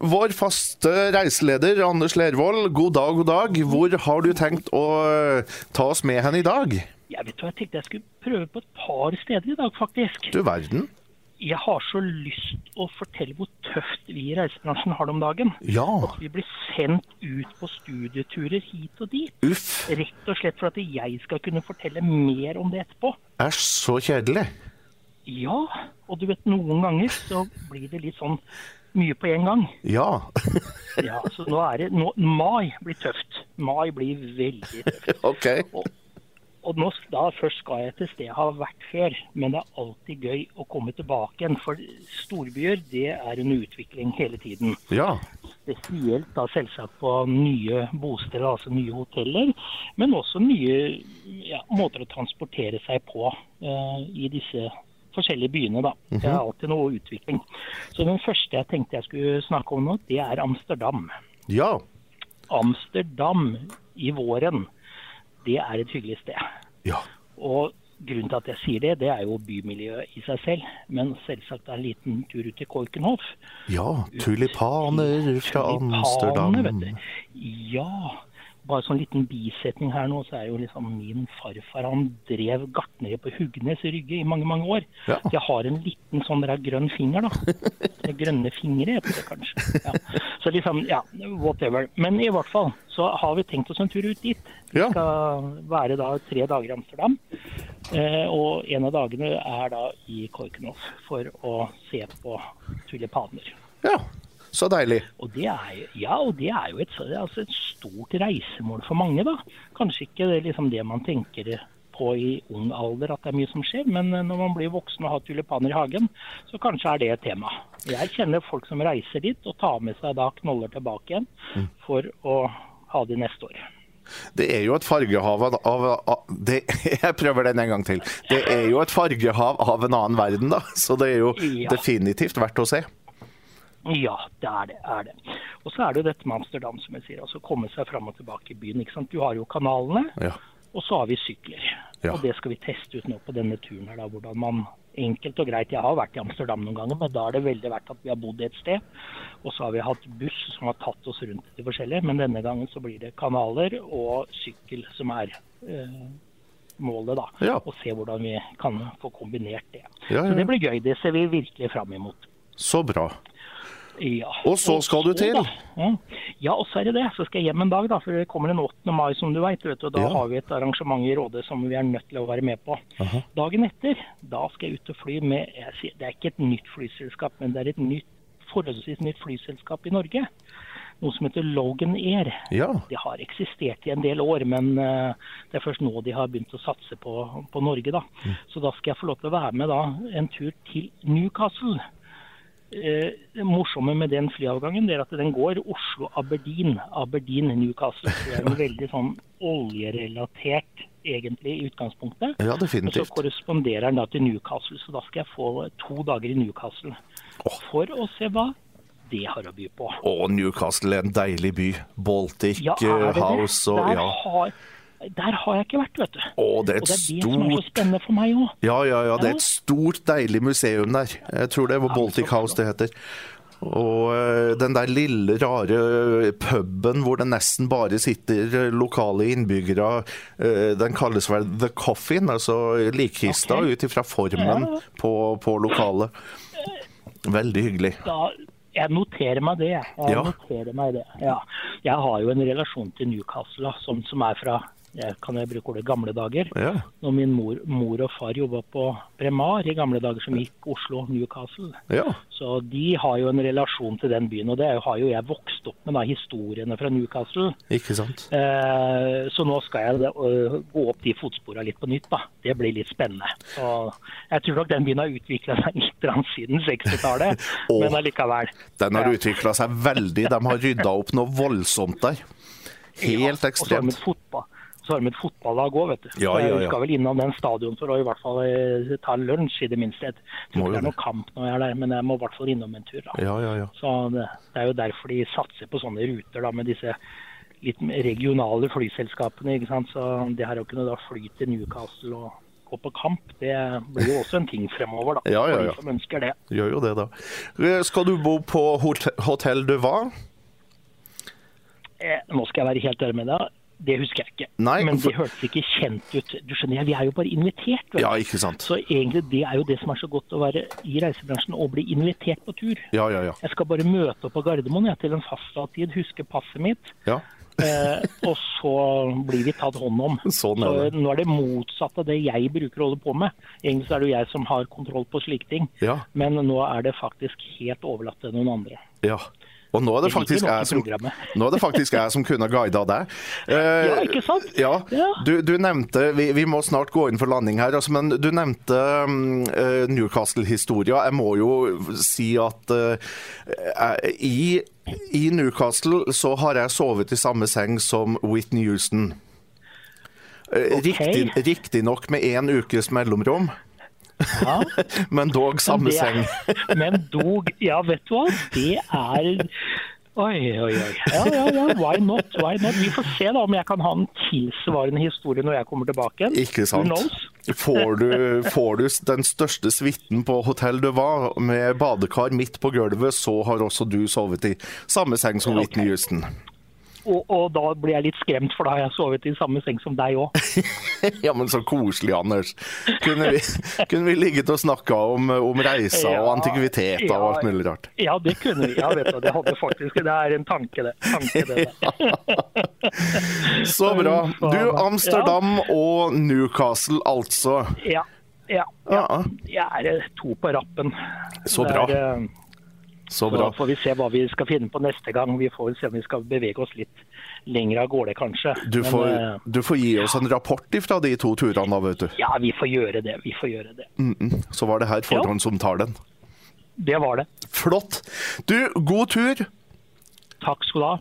vår faste reiseleder Anders Lervold, god dag, god dag. Hvor har du tenkt å eh, ta oss med hen i dag? Jeg vet hva, jeg tenkte jeg skulle prøve på et par steder i dag, faktisk. Du verden. Jeg har så lyst å fortelle hvor tøft vi i reisebransjen har det om dagen. Ja. Vi blir sendt ut på studieturer hit og dit. Uff. Rett og slett for at jeg skal kunne fortelle mer om det etterpå. Æsj, så kjedelig. Ja, og du vet noen ganger så blir det litt sånn mye på en gang. Ja. Ja, så nå er det, nå, Mai blir tøft. Mai blir veldig tøft. OK. Og nå, s- da først skal jeg til sted jeg har vært før, men det er alltid gøy å komme tilbake igjen. For storbyer det er under utvikling hele tiden. Ja. Spesielt da selvsagt på nye bosteder, altså nye hoteller, men også nye ja, måter å transportere seg på eh, i disse forskjellige byene. da. Det er alltid noe utvikling. Så Den første jeg tenkte jeg skulle snakke om nå, det er Amsterdam. Ja. Amsterdam i våren, det er et hyggelig sted. Ja. Og grunnen til at jeg sier det, det er jo bymiljøet i seg selv, men selvsagt en liten tur ut til Korkenhoff. Ja. Tulipaner fra Tulipanene, Amsterdam. vet du. Ja. Bare sånn liten bisetning her nå, så er jo liksom min farfar han drev gartneri på Hugnes i Rygge i mange, mange år. Ja. Så jeg har en liten sånn der grønn finger, da. Eller grønne fingre heter det kanskje. Ja. Så liksom, ja, whatever. Men i hvert fall så har vi tenkt oss en tur ut dit. Vi Ja. skal være da tre dager i Amsterdam. Eh, og en av dagene er da i Korkenhoff for å se på tulipaner. Ja. Så deilig. Og det er, jo- ja, og det er jo et, så- altså et stort reisemål for mange, da. Kanskje ikke det, liksom det man tenker på i ung alder, at det er mye som skjer, men eh, når man blir voksen og har tulipaner i hagen, så kanskje er det et tema. Jeg kjenner folk som reiser dit og tar med seg da knoller tilbake igjen for å ha de neste år. Det er jo et fargehav av, av, av det, Jeg prøver den en gang til. Det er jo et fargehav av en annen verden, da. Så det er jo Ja. definitivt verdt å se. Ja, det er det. er det. Og så er det jo dette med Amsterdam, som jeg sier. altså Komme seg fram og tilbake i byen. ikke sant? Du har jo kanalene. Ja. Og så har vi sykler. Ja. Og det skal vi teste ut nå på denne turen her, da. Hvordan man enkelt og greit Jeg har vært i Amsterdam noen ganger, men da er det veldig verdt at vi har bodd et sted. Og så har vi hatt buss som har tatt oss rundt til forskjellige, men denne gangen så blir det kanaler og sykkel som er eh, målet, da. Ja. Og se hvordan vi kan få kombinert det. Ja, ja, ja. Så det blir gøy. Det ser vi virkelig fram imot. Så bra. Ja. Og så skal du til? da. Ja. Ja, og så er det det. Så skal jeg hjem en dag, da. For det kommer den 8. mai, som du veit. Og da Ja. har vi et arrangement i Råde som vi er nødt til å være med på. Dagen etter, da skal jeg ut og fly med jeg sier, Det er ikke et nytt flyselskap, men det er et nytt, forholdsvis nytt flyselskap i Norge. Noe som heter Logan Air. Ja. Det har eksistert i en del år, men eh, det er først nå de har begynt å satse på, på Norge. Da. Så da skal jeg få lov til å være med da, en tur til Newcastle. Eh, det morsomme med den flyavgangen det er at den går Oslo-Aberdeen. Aberdeen-Newcastle. Det er en veldig sånn oljerelatert, egentlig, i utgangspunktet. Ja, Men så definitivt. korresponderer den da til Newcastle, så da skal jeg få to dager i Newcastle. For å se hva det har å by på. Og Newcastle er en deilig by. Baltic eh, Ja, er det det? House og der, ja. har, der har jeg ikke vært, vet du. Å, det er Og et det er det som er så stort spennende for meg òg. Ja, ja, ja. Det er Ja. et stort, deilig museum der. Jeg tror det var Baltic House det heter. Og eh, den der lille, rare eh, puben hvor det nesten bare sitter eh, lokale innbyggere, eh, den kalles vel The Coffin, altså likkista, Ok. ut ifra formen på, på lokalet. Veldig hyggelig. Da, jeg noterer meg det. jeg. Jeg Ja. noterer meg det. Ja. Jeg har jo en relasjon til Newcastle, da, som, som er fra jeg kan jeg bruke ordet gamle dager. Ja. Når min mor, mor og far jobba på Bremar i gamle dager, som gikk Oslo-Newcastle. Ja. Så de har jo en relasjon til den byen. Og det har jo jeg vokst opp med, da, historiene fra Newcastle. Ikke sant? Eh, Så nå skal jeg eh, gå opp de fotsporene litt på nytt. da. Det blir litt spennende. Og jeg tror nok den byen har utvikla seg litt grann siden 60-tallet, Åh. men allikevel. Den har Ja. utvikla seg veldig. De har rydda opp noe voldsomt der. Helt Og så har de ekstremt. et fotball. Så har de et fotballag òg, vet du. Ja, Så ja, Vi ja. skal vel innom den stadion for å i hvert fall eh, ta en lunsj, i det minste. Jeg Må jo tror ikke det er det. noe kamp når jeg er der, men jeg må i hvert fall innom en tur. da. Ja, ja, ja. Så det, det er jo derfor de satser på sånne ruter da, med disse litt mer regionale flyselskapene. ikke sant? Så De her å kunne da fly til Newcastle og gå på kamp. Det blir jo også en ting fremover, da. Ja, ja, for ja. de som ønsker det. Gjør jo det, da. Eh, Skal du bo på hotell, hotell du var? Eh, nå skal jeg være helt ærlig med deg, det husker jeg ikke. Nei, Men for- det hørtes ikke kjent ut. Du skjønner, vi er jo bare invitert. Vet du. Ja, ikke sant. Så egentlig det er jo det som er så godt å være i reisebransjen, å bli invitert på tur. Ja, ja, ja. Jeg skal bare møte opp på Gardermoen jeg, til en fastsatt tid, huske passet mitt, ja. eh, og så blir vi tatt hånd om. Sånn Så er det. nå er det motsatt av det jeg bruker å holde på med. Egentlig så er det jo jeg som har kontroll på slike ting, Ja, men nå er det faktisk helt overlatt til noen andre. ja. Og nå er det Det faktisk ligger nok i jeg som, programmet. nå er det faktisk jeg som kunne ha guida deg. Eh, Ja, ikke sant? Ja. Ja. Du, du nevnte vi, vi må snart gå inn for landing her, altså, men du nevnte mm, eh, Newcastle-historia. Jeg må jo si at eh, jeg- i, i Newcastle så har jeg sovet i samme seng som Whitney Houston. Eh, Ok. riktig- Riktignok med én ukes mellomrom, Ja. men dog samme det seng. er- Men dog Ja, vet du hva, det er Oi, oi, oi. Ja, ja, ja, why not? Why not? Vi får se da om jeg kan ha en tilsvarende historie når jeg kommer tilbake. igjen. Ikke Who sant. knows? Får du, får du den største suiten på hotell du var, med badekar midt på gulvet, så har også du sovet i samme seng som Whitney Houston. Og, og da blir jeg litt skremt, for da har jeg sovet i samme seng som deg òg. Ja, men så koselig, Anders. Kunne vi, kunne vi ligget og snakka om, om reiser og Ja, antikviteter og alt mulig rart. Ja, det kunne vi. Ja, vet du, hva, det hadde faktisk Det er en tanke, det. Tanke, det der. Så bra. Du, Amsterdam og Newcastle, altså. Ja. ja, ja. Ja, Jeg er eh, to på rappen. Så Det bra. er, eh, så Så bra. får vi se hva vi skal finne på neste gang. Vi får se om vi skal bevege oss litt lenger av gårde, kanskje. Du Men, eh, får, du får gi oss en rapport ifra de to turene, da, vet du. Mm, ja, vi får gjøre det. Vi får gjøre det. Så var det her forhåndsomtalen. Det var det. Flott. Du, god tur. Takk skal du ha.